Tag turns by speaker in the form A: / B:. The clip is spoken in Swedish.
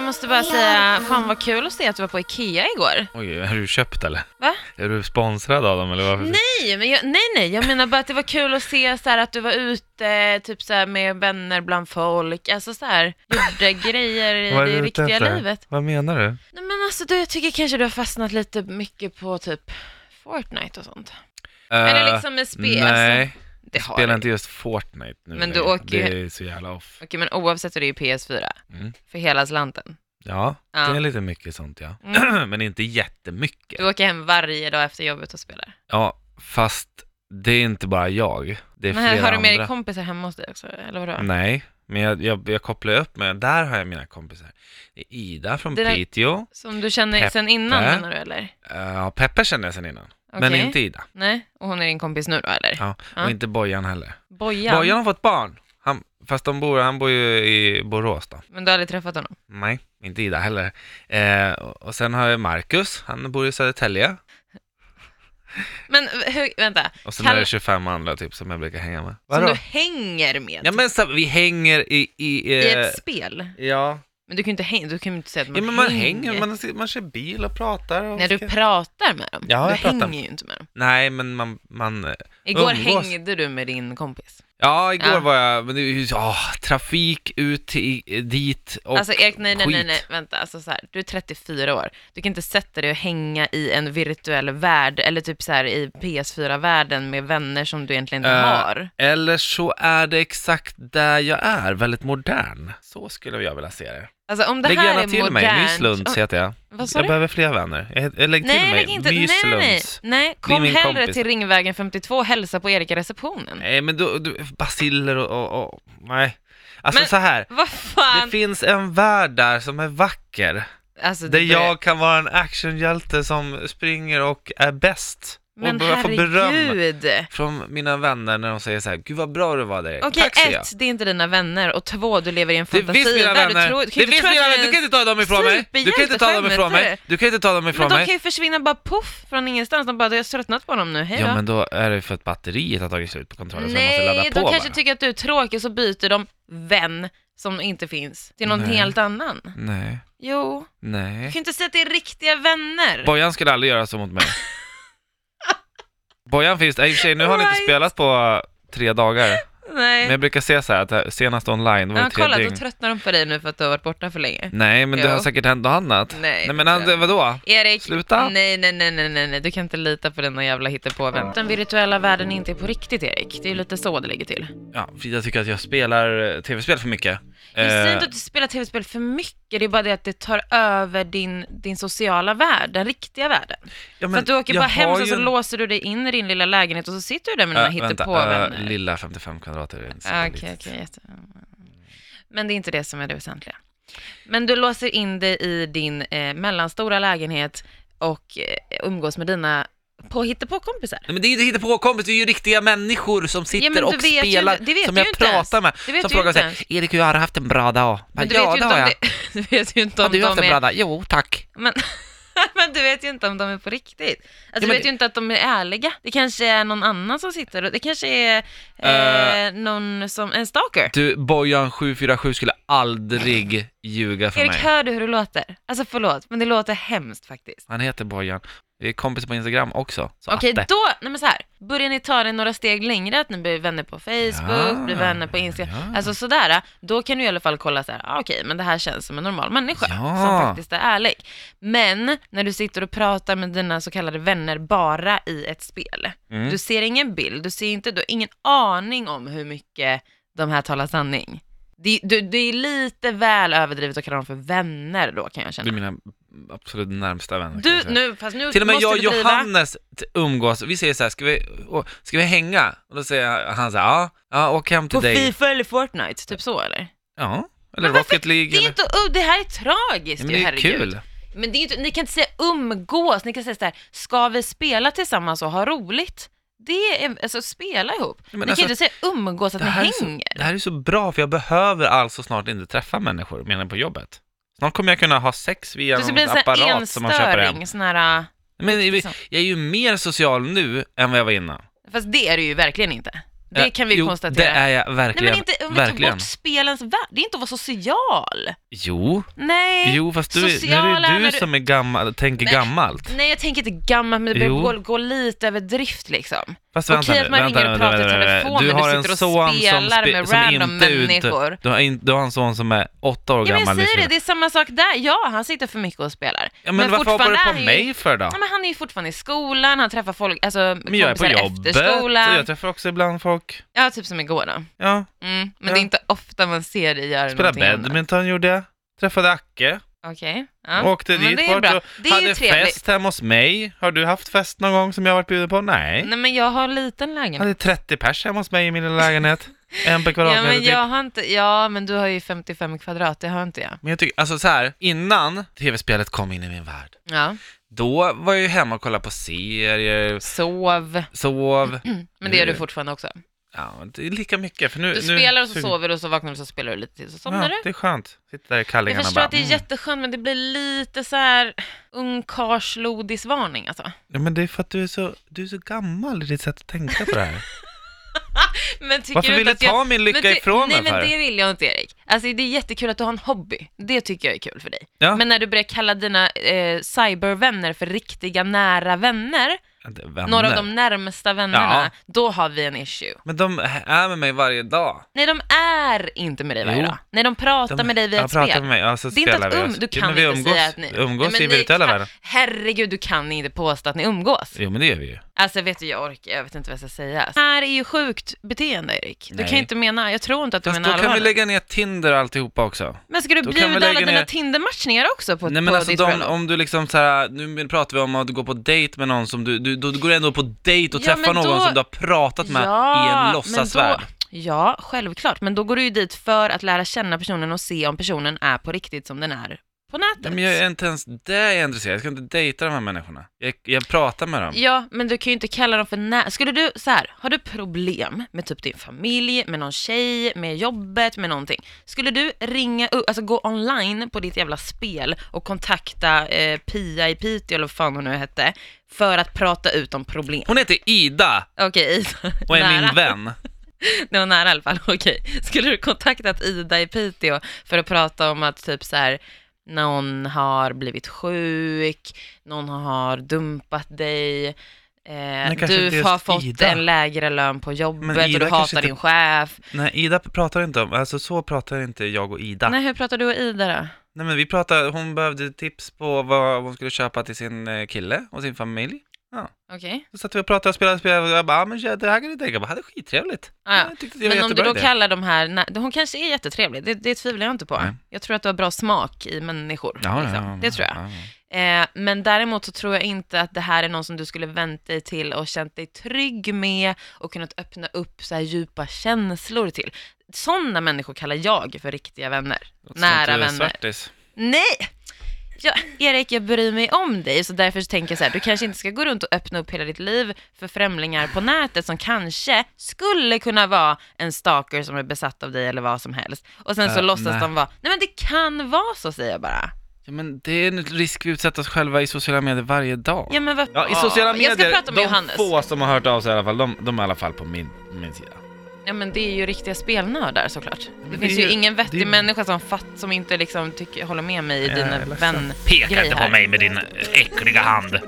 A: måste bara säga, fan vad kul att se att du var på IKEA igår.
B: Oj, har du köpt eller?
A: Va?
B: Är du sponsrad av dem eller varför?
A: Nej, men jag, nej, nej, jag menar bara att det var kul att se så här, att du var ute typ så här, med vänner bland folk, alltså så här, gjorde grejer i
B: Vad är
A: det
B: du ute
A: riktiga
B: efter?
A: livet.
B: Vad menar du?
A: Nej, men alltså du, jag tycker kanske du har fastnat lite mycket på typ Fortnite och sånt. Eller
B: Eh,
A: liksom med spel. Alltså,
B: Nej,
A: det har
B: spela
A: du.
B: inte just Fortnite nu
A: Men du
B: längre.
A: åker ju-
B: Det är så jävla off.
A: Okej, men oavsett är det ju PS4.
B: Mm.
A: För hela slanten.
B: Ja,
A: Ja. Mm.
B: det är lite mycket sånt ja. Men inte jättemycket.
A: Du åker hem varje dag efter jobbet och spelar.
B: Ja, fast det är inte bara jag. Det är
A: Men här,
B: flera
A: har du med dig
B: andra. Mm.
A: kompisar hemma hos dig också, eller vadå?
B: Nej, men jag, jag, jag kopplar upp mig. Där har jag mina kompisar. Det är Ida från
A: Det där-
B: Piteå.
A: Som du känner sen innan
B: Peppe.
A: menar du eller?
B: Uh, Peppe kände jag sen innan. Men
A: Okej.
B: inte Ida.
A: Nej, och hon är din kompis nu då eller?
B: Ja.
A: Ja.
B: Och inte Bojan heller.
A: Bojan.
B: Bojan har fått barn. Han, fast de bor, han bor ju i Borås då.
A: Men du har aldrig träffat honom?
B: Nej, inte Ida heller. Eh, och och sen har jag Marcus, han bor i Södertälje.
A: Men v- hur, vänta,
B: Och sen
A: Kalle-
B: är det 25 andra typ som jag brukar hänga med.
A: som du hänger med typ,
B: Ja men så, vi hänger i... i,
A: i
B: eh,
A: ett spel?
B: Ja.
A: Men du kan ju inte, häng, du kan ju inte säga att man,
B: ja, men man hänger, man, sitter- man kör bil och pratar. Och
A: När du pratar med dem?
B: Ja,
A: du
B: jag pratar med-
A: hänger ju inte med dem.
B: Nej, men man... man eh,
A: Igår
B: Umgås.
A: hängde du med din kompis.
B: ja, igår
A: Ja.
B: var jag... Men det är ju ja, trafik ut till, dit och...
A: alltså Erik, nej, nej, nej,
B: skit.
A: nej, vänta, alltså så här, du är 34 år, du kan inte sätta dig och hänga i en virtuell värld, eller typ så här i PS4-världen med vänner som du egentligen inte
B: Eh,
A: har.
B: Eller så är det exakt där jag är, väldigt modern. Så skulle jag vilja se det.
A: Alltså om det
B: Lägg
A: här
B: gärna
A: är
B: till mig,
A: modernt...
B: Myslunds heter jag.
A: Vad sa
B: Jag
A: du?
B: behöver fler vänner. Jag, jag lägg till
A: Nej,
B: mig,
A: lägg inte, nej,
B: Myslunds.
A: nej, nej, nej, kom
B: min
A: hellre
B: kompis.
A: till Ringvägen 52 och hälsa på Erik i receptionen.
B: Nej, men du, du, basiller och, och, och... Nej. Alltså
A: Men-
B: så här.
A: Vad
B: Det
A: fan!
B: finns en värld där som är vacker.
A: Alltså,
B: Där
A: det börjar-
B: jag kan vara en actionhjälte som springer och är bäst.
A: Men
B: och jag får beröm
A: herregud!
B: från mina vänner när de säger så här, gud vad bra du var där Erik."
A: Okej,
B: tack säger jag.
A: ett, det är inte dina vänner och två, du lever i en
B: Det
A: fantasivärld.
B: finns mina
A: Du
B: vänner,
A: tror-
B: det
A: kan ju inte
B: finns
A: tro
B: mina
A: att du är
B: vänner, du
A: en
B: kan inte ta dem ifrån mig! Du kan inte ta dem
A: superhjälte,
B: ifrån mig!
A: skämtar
B: Du kan inte ta dem
A: Men
B: ifrån
A: de
B: mig!
A: kan ju försvinna bara poff från ingenstans, de bara du har tröttnat på honom nu, hejdå.
B: Ja men då är det för att batteriet har tagit slut på kontrollen så jag måste
A: Nej,
B: ladda på
A: de kanske
B: bara.
A: tycker att du är tråkig så byter de vän som inte finns till någon
B: Nej.
A: helt annan.
B: Nej,
A: Jo, du
B: nej.
A: kan ju inte säga att det är riktiga vänner.
B: Bojan skulle aldrig göra så mot mig. Bojan finns, äh, i och för sig nu har ni inte
A: Right.
B: spelat på tre dagar.
A: Nej.
B: Men jag brukar säga så här att det här- senast online var det
A: Ja,
B: tre
A: kolla,
B: dygn.
A: då tröttnar de på dig nu för att du har varit borta för länge.
B: Nej, men det har
A: Jo.
B: säkert hänt något annat.
A: Nej,
B: men han, vadå?
A: Erik,
B: Sluta.
A: Nej, nej, nej, nej, nej, nej, du kan inte lita på den jävla hittepåvän. Den virtuella världen är inte på riktigt, Erik. Det är ju lite så det ligger till.
B: Ja, Frida tycker att jag spelar eh, tv-spel för mycket.
A: Jag säger
B: Eh,
A: inte att du spelar tv-spel för mycket, det är bara det att det tar över din, din sociala värld, den riktiga världen.
B: ja,
A: för att du åker
B: jag
A: bara hem
B: har
A: och
B: ju
A: så
B: en-
A: låser du dig in i din lilla lägenhet och så sitter du där med
B: Eh,
A: dina
B: vänta,
A: hittepåvänner.
B: eh, lilla 55 kvadrat är det inte så
A: Ah, Okej,
B: litet.
A: okej, jätte- mm. Men det är inte det som är det väsentliga. Men du låser in dig i din eh, mellanstora lägenhet och eh, umgås med dina på hittepåkompisar.
B: Nej, men det är ju inte hittepåkompis, det är ju riktiga människor som sitter
A: men du
B: och
A: vet ju
B: spelar,
A: inte- det vet
B: som
A: du
B: jag
A: ju inte
B: pratar med.
A: Det vet
B: Som
A: du ju
B: frågar
A: inte
B: sig,
A: ens.
B: Erik, hur har du haft en bra dag?
A: Men
B: Bara,
A: du,
B: ja,
A: vet ju
B: det
A: inte
B: har
A: om
B: jag.
A: det, du vet ju inte
B: Har
A: om
B: du haft
A: de
B: en bra
A: är...
B: dag? Jo, tack.
A: Men, men du vet ju inte om de är på riktigt. Alltså, du
B: men
A: vet
B: det-
A: ju inte att de är ärliga. Det kanske är någon annan som sitter och det kanske är eh, någon som, en stalker.
B: Du, Bojan747 skulle aldrig ljuga för
A: Erik,
B: mig.
A: hör du hur det låter? Alltså förlåt, men det låter hemskt faktiskt.
B: Han heter Bojan. Vi är kompisar på Instagram också. Så
A: Okej,
B: atte.
A: då, nej men så här, börjar ni ta det några steg längre, att ni blir vänner på Facebook,
B: Ja,
A: blir vänner på Instagram,
B: ja.
A: alltså sådär, då kan du i alla fall kolla så här, ah, okej, men det här känns som en normal människa
B: Ja.
A: som faktiskt är ärlig. Men när du sitter och pratar med dina så kallade vänner bara i ett spel,
B: Mm.
A: du ser ingen bild, du ser inte, du har ingen aning om hur mycket de här talar sanning. Det, du, det är lite väl överdrivet att kalla dem för vänner då kan jag
B: Du är
A: känna.
B: mina absolut närmsta vänner. kan jag
A: Du,
B: säga.
A: nu, fast nu
B: Till och med
A: måste
B: jag och
A: du driva.
B: Johannes t- umgås, vi säger så här, ska vi, åh, ska vi hänga? Och då säger han så här, ja, ja åk hem till
A: På
B: dig.
A: Fifa eller Fortnite, typ så eller?
B: Ja, eller
A: varför-
B: Rocket League.
A: Det, är
B: Eller...
A: inte, oh, det här är tragiskt
B: Ja, men
A: ju,
B: det är
A: herregud.
B: kul.
A: Men det är inte, ni kan inte säga umgås, ni kan säga så här, ska vi spela tillsammans och ha roligt? Det är, alltså spela ihop.
B: men
A: ni
B: alltså,
A: kan ju inte säga umgås att
B: Det
A: ni
B: här, är
A: hänger.
B: så, det här är så bra, för jag behöver alltså snart inte träffa människor, menar jag, på jobbet. Snart kommer jag kunna ha sex via
A: Du ska bli
B: någon
A: en sån här
B: apparat som man köper hem.
A: enstöring, sån här,
B: Men jag
A: Liksom.
B: jag är ju mer social nu än vad jag var innan.
A: fast det är du ju verkligen inte. Det
B: Eh,
A: kan vi
B: jo,
A: konstatera.
B: det är jag
A: Nej
B: verkligen.
A: men inte, om vi tar
B: verkligen.
A: bort spelens värld, det är inte att vara social.
B: Jo,
A: Nej.
B: jo fast du, nu är
A: Sociala,
B: det
A: när
B: du
A: du-
B: som är gammal, tänker
A: Men-
B: gammalt.
A: Nej jag tänker inte gammalt, men det börjar
B: Jo.
A: gå, gå lite överdrift liksom.
B: Fast
A: Okej
B: vänta
A: att
B: nu,
A: man
B: vänta
A: ringer
B: nu,
A: och pratar i
B: vänta nu, vänta nu.
A: telefon,
B: Du
A: men
B: har
A: du
B: en
A: sitter och
B: son som,
A: spelar
B: spe-
A: med
B: som
A: random
B: inte är
A: människor.
B: ute. Du har, in, du har en son som är åtta år
A: Ja, men jag
B: gammal.
A: säger det, det är samma sak där. Ja, han sitter för mycket och spelar.
B: ja, men, varför hoppar du
A: fortfarande
B: på
A: är han ju-
B: mig för då?
A: Ja, men han är ju fortfarande i skolan, han träffar folk, alltså
B: Men jag är på
A: kompisar
B: jobbet,
A: efter
B: och jag
A: skolan.
B: träffar också ibland folk.
A: Ja, typ som igår då. Mm,
B: Ja,
A: men
B: Ja.
A: det är inte ofta man ser dig göra
B: spelade
A: någonting annat.
B: badminton gjorde jag. Träffade Acke,
A: Okej. Ja.
B: åkte
A: men
B: dit
A: det är
B: bort
A: bra.
B: och
A: Det är ju
B: hade
A: trevligt.
B: fest hemma hos mig. Har du haft fest någon gång som jag har varit bjuden på? Nej.
A: Nej, men jag har liten
B: Jag
A: lägenhet.
B: hade 30 pers hemma hos mig i min lilla lägenhet. en per
A: Ja,
B: kvadratmeter
A: men
B: typ.
A: jag har inte, ja, men du har ju 55 kvadrat, det har inte jag.
B: Men jag tycker, alltså så här, innan tv-spelet kom in i min värld,
A: Ja.
B: då var jag ju hemma och kollade på serier,
A: Sov. Mm,
B: sov.
A: Men det gör du fortfarande också.
B: Ja, det är lika mycket för nu...
A: Du
B: nu,
A: spelar och så sover du och så vaknar du och så spelar du lite till, så somnar
B: ja,
A: du.
B: det är skönt. Sitta där i
A: Jag
B: kallingarna
A: förstår
B: bara,
A: att det är
B: mm.
A: jätteskönt, men det blir lite så här ungkarlslodisvarning alltså.
B: ja, men det är för att du är, så, du är så gammal i ditt sätt att tänka på det här.
A: Men tycker
B: Varför
A: du
B: vill
A: inte
B: du
A: att jag...
B: ta min lycka
A: Men ty- Nej
B: ifrån mig för?
A: men det vill jag inte Erik. Alltså det är jättekul att du har en hobby. Det tycker jag är kul för dig.
B: Ja.
A: Men när du börjar kalla dina eh, cybervänner för riktiga nära vänner,
B: Att det är vänner.
A: några av de närmsta vännerna, då har vi en issue.
B: Men de är med mig varje dag.
A: Nej de är inte med dig varje
B: Jo.
A: dag. Nej de pratar med dig via
B: ja,
A: ett
B: pratar
A: spel.
B: med mig, ja, så
A: Det är inte
B: spelar
A: att
B: vi.
A: um,
B: oss.
A: du
B: Jo,
A: kan
B: men vi
A: inte
B: umgås,
A: säga att ni...
B: umgås
A: Nej, men
B: i
A: ni
B: virtuella
A: kan-
B: världen.
A: Herregud, du kan inte påstå att ni umgås.
B: Jo, men det gör vi ju.
A: Alltså vet du, jag orkar, jag vet inte vad jag ska säga. Det här är ju sjukt beteende Erik. Du
B: Nej.
A: kan inte mena, jag tror inte att du
B: Fast då
A: menar
B: kan vi
A: allvar.
B: lägga ner Tinder och alltihopa också.
A: Men ska du
B: då kan vi
A: bjuda alla
B: lägga
A: dina
B: ner-
A: Tinder-matchningar också på,
B: Nej men
A: på
B: alltså
A: ditt
B: de,
A: bröllop?
B: om du liksom så här, nu pratar vi om att du går på dejt med någon som du, du då går du ändå på dejt och
A: Ja, men
B: träffar någon
A: då-
B: som du har pratat med i en låtsasvärld.
A: men då- Ja, självklart. Men då går du ju dit för att lära känna personen och se om personen är på riktigt som den är på nätet.
B: Nej, Men jag är inte ens det jag är intresserad, jag ska inte dejta de här människorna. Jag, jag pratar med dem.
A: Ja, men du kan ju inte kalla dem för nä... Skulle du, så här, har du problem med typ din familj, med någon tjej, med jobbet, med någonting. Skulle du ringa upp, alltså gå online på ditt jävla spel och kontakta eh, Pia i Piteå, eller vad fan hon nu hette, för att prata ut om problem?
B: Hon heter Ida
A: Okej,
B: och är
A: nära.
B: min vän.
A: Det var nära i alla fall, okej. Skulle du kontaktat Ida i Piteå för att prata om att typ så här, någon har blivit sjuk, någon har dumpat dig, eh,
B: kanske inte
A: du
B: just
A: har fått
B: Ida.
A: en lägre lön på jobbet
B: Men
A: och du
B: Ida kanske
A: hatar
B: inte-
A: din chef.
B: Nej, Ida pratar inte om, alltså så pratar inte jag och Ida. Nej,
A: Nej, hur pratar du och Ida då?
B: men vi pratar, hon behövde tips på vad hon skulle köpa till sin eh, kille och sin familj.
A: Okej.
B: Så satt vi och pratade och spelade och spelade och jag bara, ah, men ja, det här kan du tänka på, hade skittrevligt.
A: Ah, ja.
B: Jag tyckte det var
A: Men om du
B: jättebra
A: då
B: idé.
A: kallar de här, nä- hon kanske är jättetrevlig, det, det tvivlar jag inte på.
B: Nej.
A: Jag tror att du har bra smak i människor.
B: Ja, ja,
A: liksom.
B: ja,
A: det tror jag.
B: ja, ja.
A: Eh, men däremot så tror jag inte att det här är någon som du skulle vänt dig till och känt dig trygg med och kunnat öppna upp så här djupa känslor till. Sådana människor kallar jag för riktiga vänner.
B: Låter
A: Nära
B: som att du är
A: vänner.
B: Svartis.
A: Nej! Ja, Erik, jag bryr mig om dig, så därför så tänker jag så här, du kanske inte ska gå runt och öppna upp hela ditt liv för främlingar på nätet som kanske skulle kunna vara en stalker som är besatt av dig eller vad som helst. Och sen så
B: Äh,
A: låtsas
B: nej.
A: de vara, nej men det kan vara så säger jag bara.
B: Ja, men det är en risk vi utsätter oss själva i sociala medier varje dag.
A: Ja, men vad...
B: Ja, i sociala
A: Åh,
B: medier,
A: jag ska prata med
B: de
A: Johannes.
B: få som har hört av sig i alla fall, de, de är i alla fall på min, min sida.
A: Ja men det är ju riktiga spelnördar såklart. Det,
B: det
A: finns ju
B: är ju-
A: ingen vettig
B: det är-
A: människa som fatt som inte liksom tycker, håller med mig i
B: Jag
A: dina
B: är ledsen.
A: vän
B: Peka
A: grej
B: inte
A: här.
B: på mig med din äckliga hand.